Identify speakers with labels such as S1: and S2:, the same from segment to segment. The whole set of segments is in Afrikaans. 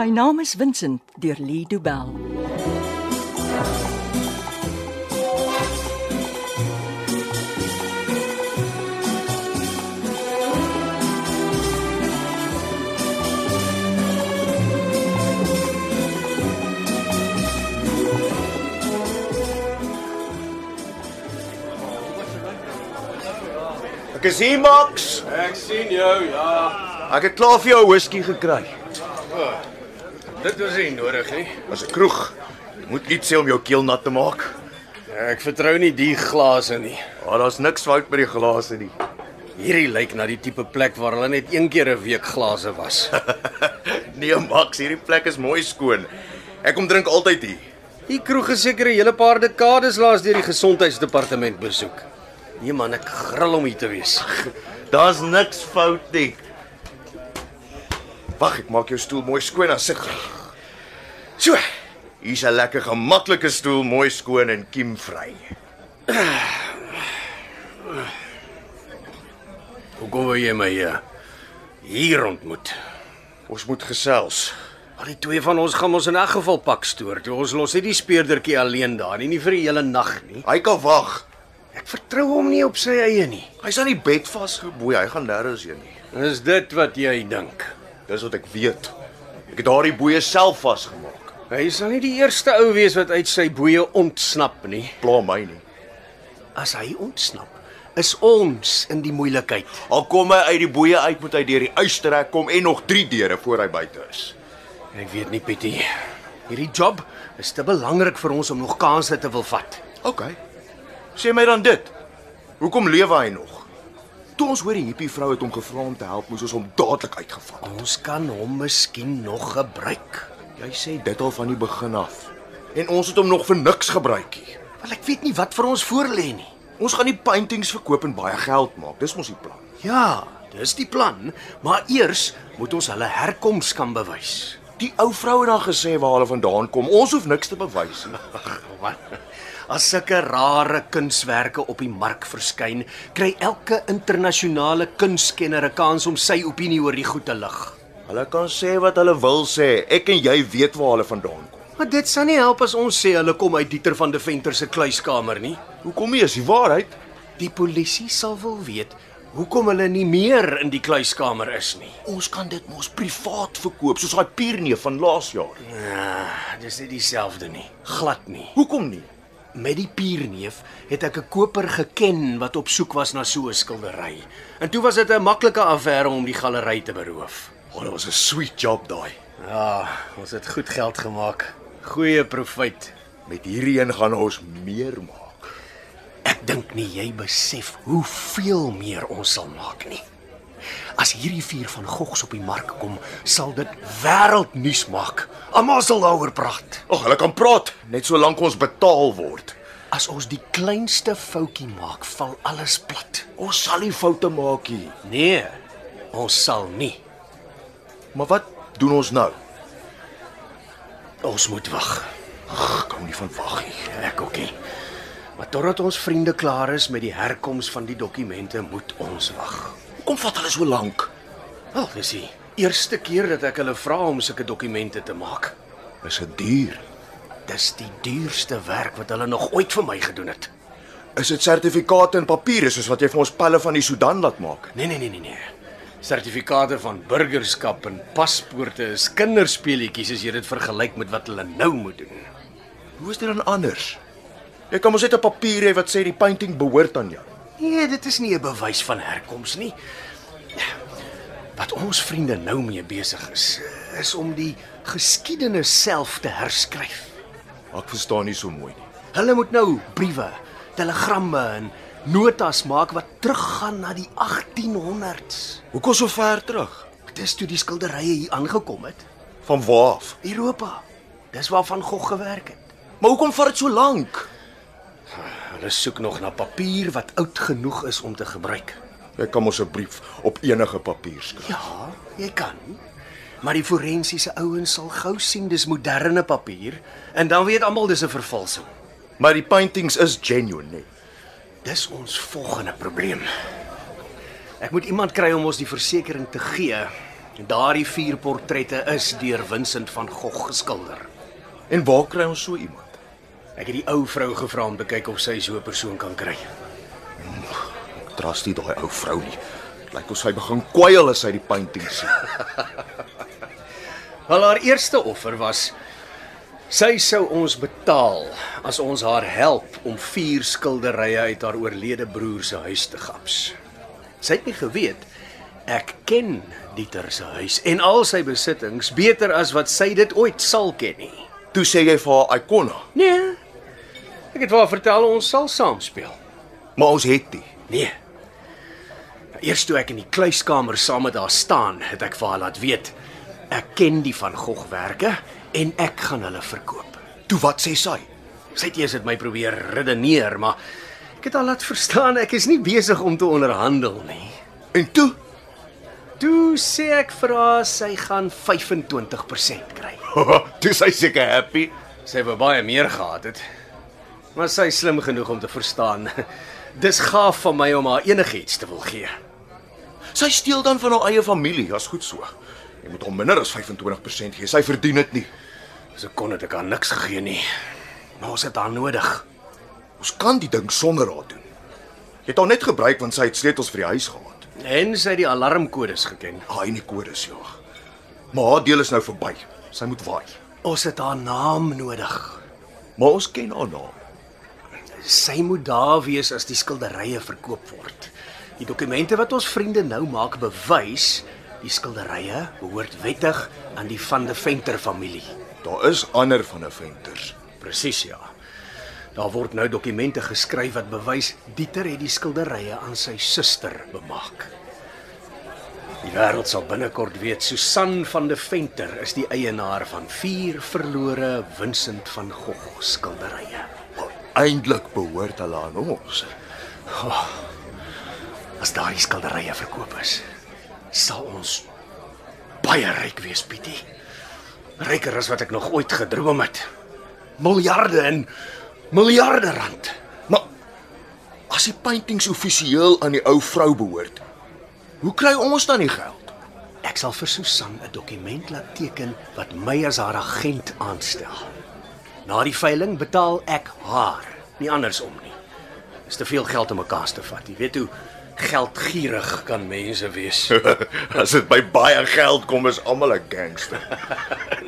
S1: My naam is Vincent deur Lee Du Bell.
S2: Ek is hier, Max.
S3: Ek sien jou, ja.
S2: Ek het klaar vir jou whisky gekry.
S3: Dit was nie nodig nie.
S2: As 'n kroeg. Jy moet iets sê om jou keel nat te maak.
S3: Ek vertrou nie die glase nie.
S2: Maar daar's niks fout met die glase nie.
S3: Hierdie lyk na die tipe plek waar hulle net een keer 'n week glase was.
S2: Nee, Max, hierdie plek is mooi skoon. Ek kom drink altyd hier.
S3: Die kroeg is seker 'n hele paar dekades laas deur die gesondheidsdepartement besoek. Nee man, ek gril om hier te wees.
S2: Daar's niks fout nie. Wag, ek maak jou stoel mooi skoon en sit. So. Hier's 'n lekker gemaklike stoel, mooi skoon en kiemvry.
S3: Hoekom wou jy my eh, hier ontmoet?
S2: Ons moet gesels.
S3: Maar die twee van ons gaan mos in 'n geval pak stoor. Toe ons los nie die speurdertjie alleen daar nie, nie vir die hele nag nie.
S2: Hy kan wag.
S3: Ek vertrou hom nie op sy eie nie.
S2: Hy's aan die bed vasgeboei. Hy gaan nêrens heen nie.
S3: Is dit wat jy dink?
S2: Dis wat ek weet. Ek het daardie boeie self vasgemaak.
S3: Hy sal nie die eerste ou wees wat uit sy boeye ontsnap nie.
S2: Pla my nie.
S3: As hy ontsnap, is ons in die moeilikheid.
S2: Al kom hy uit die boeie uit, moet hy deur die ys trek kom en nog 3 deure voor hy buite is.
S3: Ek weet nie, Pietie. Hierdie job is te belangrik vir ons om nog kansse te wil vat.
S2: OK. Sê my dan dit. Hoekom lewe hy nog? Toe ons hoor die hippie vrou het hom gevra om te help, moes ons hom dadelik uitgevat.
S3: Ons kan hom miskien nog gebruik.
S2: Jy sê dit al van die begin af. En ons het hom nog vir niks gebruik nie.
S3: Wel ek weet nie wat vir ons voorlê nie.
S2: Ons gaan die paintings verkoop en baie geld maak. Dis mos die plan.
S3: Ja, dis die plan, maar eers moet ons hulle herkoms kan bewys.
S2: Die ou vrou het dan gesê waar hulle vandaan kom. Ons hoef niks te bewys nie.
S3: Man, as sulke rare kunswerke op die mark verskyn, kry elke internasionale kunstkenner 'n kans om sy opinie oor die goed te lig.
S2: Hulle kan sê wat hulle wil sê. Ek en jy weet waar hulle vandaan kom.
S3: Maar dit sal nie help as ons sê hulle kom uit Dieter van Deventer se kluiskamer nie.
S2: Hoekom nie is die waarheid?
S3: Die polisie sal wil weet hoekom hulle nie meer in die kluiskamer is nie.
S2: Ons kan dit mos privaat verkoop soos daai pierneef van laas jaar.
S3: Ah, dis nie dieselfde nie, glad nie.
S2: Hoekom nie?
S3: Met die pierneef het ek 'n koper geken wat op soek was na so 'n skildery. En toe was dit 'n maklike affære om die galery te beroof.
S2: Oh, dit was 'n sweet job daai.
S3: Ja, ons het goed geld gemaak. Goeie profyt.
S2: Met hierdie een gaan ons meer maak.
S3: Ek dink nie jy besef hoeveel meer ons sal maak nie. As hierdie vier van Gogs op die mark kom, sal dit wêreldnuus maak. Almal sal daaroor praat.
S2: Ag, hulle kan praat net solank ons betaal word.
S3: As ons die kleinste foutjie maak, val alles plat.
S2: Ons sal nie foute maak nie.
S3: Nee, ons sal nie.
S2: Maar wat doen ons nou?
S3: Ons moet wag.
S2: Ag, kom nie van wag nie.
S3: Ek ook nie. Maar totdat ons vriende klaar is met die herkoms van die dokumente, moet ons wag.
S2: Hoekom vat hulle so lank?
S3: Wel, dis die eerste keer dat ek hulle vra om sulke dokumente te maak.
S2: Is dit duur?
S3: Dis die duurste werk wat hulle nog ooit vir my gedoen het.
S2: Is dit sertifikate en papiere soos wat jy vir ons pelle van die Sudan laat maak?
S3: Nee, nee, nee, nee, nee. Sertifikate van burgerskap en paspoorte is kinderspeletjies as jy dit vergelyk met wat hulle nou moet doen.
S2: Hoe is dit dan anders? Jy kan mos net 'n papier hê wat sê die painting behoort aan jou.
S3: Nee, dit is nie 'n bewys van herkoms nie. Wat ons vriende nou mee besig is, is om die geskiedenis self te herskryf.
S2: Ek verstaan nie so mooi nie.
S3: Hulle moet nou briewe, telegramme en notas maak wat teruggaan na die 1800s.
S2: Hoekom so ver terug?
S3: Dis toe die skilderye hier aangekom het,
S2: Van waar af?
S3: Europa. Dis waar van Gogh gewerk het.
S2: Maar hoekom vat dit so lank?
S3: Hulle soek nog na papier wat oud genoeg is om te gebruik.
S2: Jy kan mos 'n brief op enige papier skryf.
S3: Ja, jy kan. Maar die forensiese ouens sal gou sien dis moderne papier en dan weet almal dis 'n vervalsing.
S2: Maar die paintings is genuine, nee.
S3: Dis ons volgende probleem. Ek moet iemand kry om ons die versekering te gee Daardie vier portrette is deur Vincent van Gogh geskilder.
S2: En waar kry ons so iemand?
S3: Ek het die ou vrou gevra om te kyk of sy so 'n persoon kan kry.
S2: Trust nie daai ou vrou nie. Dit lyk of sy begin kwyl as sy die painting sien.
S3: Wel haar eerste offer was sy sou ons betaal as ons haar help om vier skilderye uit haar oorlede broer se huis te gaps. Sy het nie geweet ek ken Dieter se huis en al sy besittings beter as wat sy dit ooit sal ken nie.
S2: Toe sê jy vir haar Icona,
S3: Nee. Ek het vir haar vertel ons sal saam speel.
S2: maar ons het nie.
S3: Nee. Nou, Eers toe ek in die kluiskamer saam met haar staan, het ek vir haar laat weet ek ken die van Gogwerke en ek gaan hulle verkoop.
S2: Toe wat sê sy?
S3: Sy het eers met my probeer redeneer, maar ek het haar laat verstaan ek is nie besig om te onderhandel nie.
S2: En toe,
S3: Toe sê ek vir haar sy gaan 25% kry.
S2: toe sy seker happy.
S3: Sy wou baie meer gehad het. Maar sy is slim genoeg om te verstaan. Dis gaaf van my om haar enigiets te wil gee.
S2: Sy steel dan van haar eie familie, as goed so. Jy moet hom minder as 25% gee. Sy verdien dit nie.
S3: Ons kon dit ek aan niks gegee nie. Maar ons het haar nodig.
S2: Ons kan die ding sonder haar doen. Jy het haar net gebruik want sy het sleutels vir die huis gehad.
S3: En sy het die alarmkodes geken.
S2: Haai nie kodes ja. Maar haar deel is nou verby. Sy moet waai.
S3: Ons het haar naam nodig.
S2: Maar ons ken haar naam.
S3: Sy moet daar wees as die skilderye verkoop word. Die dokumente wat ons vriende nou maak bewys die skilderye behoort wettig aan die van de Venter familie.
S2: Daar is ander van 'n venters.
S3: Presies ja. Daar word nou dokumente geskryf wat bewys Dieter het die skilderye aan sy suster bemaak. Die wêreld sal binnekort weet Susan van de Venter is die eienaar van vier verlore Vincent van Gogh skilderye.
S2: Maar eintlik behoort hulle aan ons.
S3: As daai skilderye verkoop is, sal ons baie ryk wees, Pietie. Ryker as wat ek nog ooit gedroom het. Miljarde en miljarde rand.
S2: Maar as die paintings amptelik aan die ou vrou behoort, hoe kry ons dan die geld?
S3: Ek sal vir Susan 'n dokument laat teken wat my as haar agent aanstel. Na die veiling betaal ek haar, nie andersom nie. Dis te veel geld om mekaar te vat. Jy weet hoe geldgierig kan mense wees.
S2: as dit by baie geld kom, is almal 'n gangster.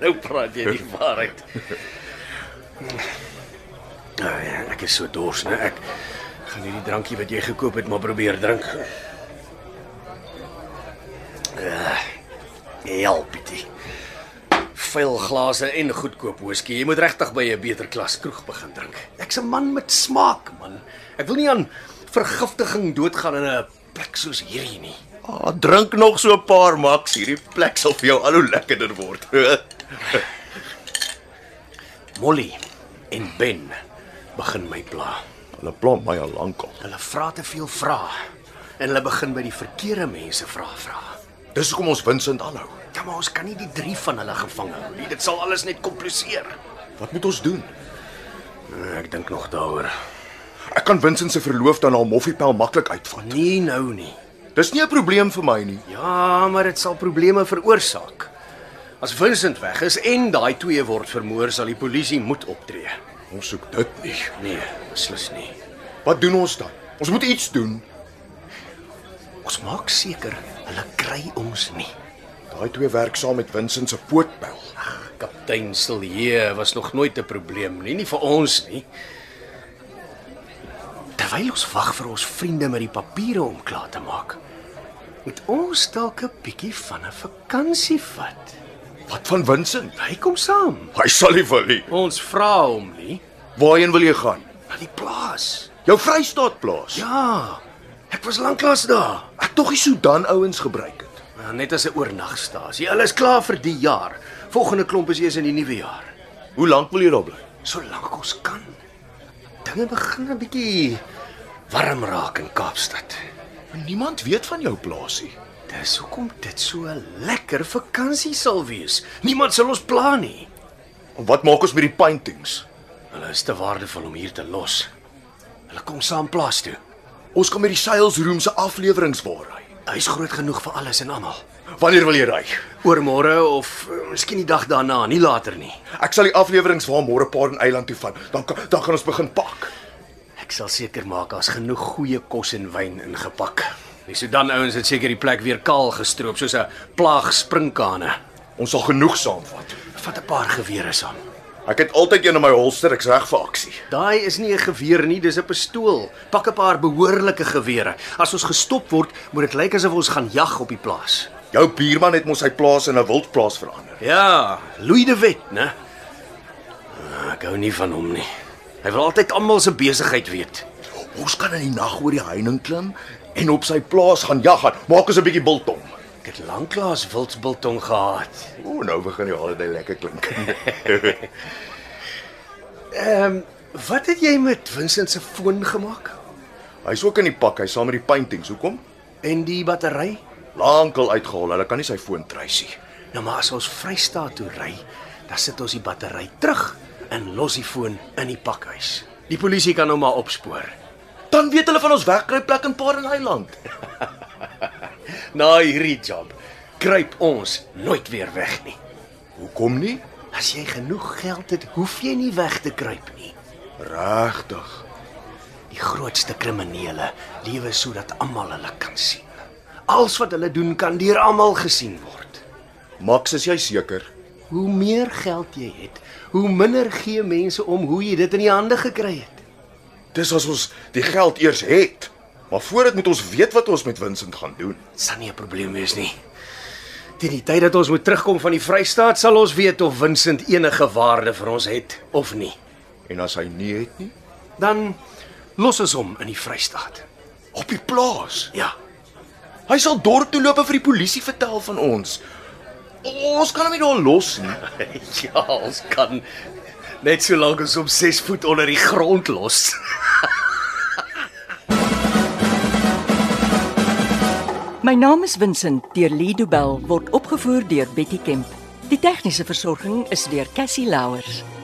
S3: nou praat jy die waarheid. Nou ja, ek is so dors, né? Ek gaan hierdie drankie wat jy gekoop het maar probeer drink. Ah, Uh, help dit. Veel glase en goedkoop whisky. Jy moet regtig by 'n beter klas kroeg begin drink. Ek's 'n man met smaak, man. Ek wil nie aan vergiftiging doodgaan in 'n plek soos hierdie nie.
S2: Ah, drink nog so 'n paar maks, hierdie plek sal vir jou al hoe lekkerder word.
S3: Molly en Ben begin my pla.
S2: hulle plan my al lankal.
S3: Hulle vra te veel vrae en hulle begin by die verkeerde mense vra vra.
S2: Dis hoekom ons Vincent aanhou.
S3: Ja, maar ons kan nie die drie van hulle gevang hou nie. Dit sal alles net kompliseer.
S2: Wat moet ons doen?
S3: Nee, Ek dink nog daaroor.
S2: Ek kan Vincent se verloof dan haar moffiepel maklik uitvat.
S3: Nee nou nie.
S2: Dis nie 'n probleem vir my nie.
S3: Ja, maar dit sal probleme veroorsaak. As Vincent weg is en daai twee word vermoor, sal die polisie moet optree.
S2: Ons soek dit nie.
S3: Nee, beslis nie.
S2: Wat doen ons dan? Ons moet iets doen.
S3: Ons maak seker hulle kry ons nie.
S2: Daai twee werk saam met Vincent se pootpel.
S3: Kaptein Silje was nog nooit 'n probleem nie, nie vir ons nie. Terwyl ons wag vir ons vriende met die papiere om klaar te maak, moet ons dalk 'n bietjie van 'n vakansie vat.
S2: Wat van Vincent?
S3: Hy kom saam.
S2: Hy sal nie wil nie.
S3: Ons vra hom nie
S2: Waarheen wil jy gaan?
S3: na die plaas.
S2: Jou Vrystaat plaas.
S3: Ja. Ek was lanklaas daar.
S2: ek tog die Sudan ouens gebruik het.
S3: Maar Net as 'n oornagstasie. Hulle is klaar vir die jaar. Volgende klomp is eers in die nuwe jaar.
S2: Hoe lank wil jy daar bly?
S3: solank ons kan. Dinge begin 'n bietjie warm raak in Kaapstad.
S2: Niemand weet van jou plaasie.
S3: Dis hoekom dit so 'n lekker vakansie sal wees. Niemand sal ons pla nie.
S2: Wat maak ons met die paintings?
S3: Hulle is te waardevol om hier te los. Hulle kom saam plaas toe.
S2: Ons kan met die sales room se afleweringe waarhy.
S3: Hy's groot genoeg vir alles en almal.
S2: Wanneer wil jy ry?
S3: Oormôre of eh, miskien die dag daarna, nie later nie.
S2: Ek sal die afleweringe vir môre paar in eiland toe vat. Dan kan- dan gaan ons begin pak.
S3: Ek sal seker maak daar's genoeg goeie kos en wyn ingepak. Die Sudan ouens het seker die plek weer kaal gestroop soos 'n plaag sprinkane.
S2: Ons sal genoeg saamvat.
S3: Vat 'n paar gewere saam.
S2: Ek het altyd een in my holster, ek's reg vir aksie.
S3: Daai is nie 'n geweer nie, dis 'n pistool. Pak 'n paar behoorlike gewere. As ons gestop word, moet dit lyk asof ons gaan jag op die plaas.
S2: Jou buurman het mos sy plaas in 'n wildplaas verander.
S3: Ja, Louis de Wet, né? Ah, Ek hou nie van hom nie. Hy wil altyd almal se besigheid weet.
S2: Ons kan in die nag oor die heining klim en op sy plaas gaan jag gaan. Maak ons 'n bietjie biltong.
S3: Ek het lanklaas wildsbiltong gehad.
S2: O, nou begin die holiday lekker klink.
S3: Ehm, Wat het jy met Vincent se foon gemaak?
S2: Hy's ook in die pak, hy saam met die paintings. Hoekom?
S3: En die battery?
S2: Lankal uitgehaal. Hulle kan nie sy foon trace nie.
S3: Nou maar as ons Vrystaat toe ry, dan sit ons die battery terug en los die foon in die pakhuis. Die polisie kan hom maar opspoor.
S2: Dan weet hulle van ons wegkruipplek in Paardeneiland.
S3: Na hierdie job kruip ons nooit weer weg nie.
S2: Hoekom nie?
S3: As jy genoeg geld het, hoef jy nie weg te kruip nie.
S2: Regtig.
S3: Die grootste kriminele lewe sodat almal hulle kan sien. Alles wat hulle doen kan deur almal gesien word.
S2: Max, is jy seker?
S3: Hoe meer geld jy het, hoe minder gee mense om hoe jy dit in die hande gekry het.
S2: Dis as ons die geld eers het. Maar voor dit moet ons weet wat ons met Vincent gaan doen.
S3: Dit sal nie 'n probleem wees nie. Teen die tyd dat ons moet terugkom van die Vrystaat sal ons weet of Vincent enige waarde vir ons het of nie.
S2: En as hy nie het nie,
S3: Dan los ons hom in die Vrystaat.
S2: op die plaas.
S3: Ja.
S2: Hy sal dorp toe loop en vir die polisie vertel van ons. O, ons kan hom nie daar los nie.
S3: Ja, ons kan net solank ons hom 6 voet onder die grond los.
S1: My naam is Vincent deur Lido Bell word opgevoer deur Betty Kemp. Die tegniese versorging is deur Cassie Louers.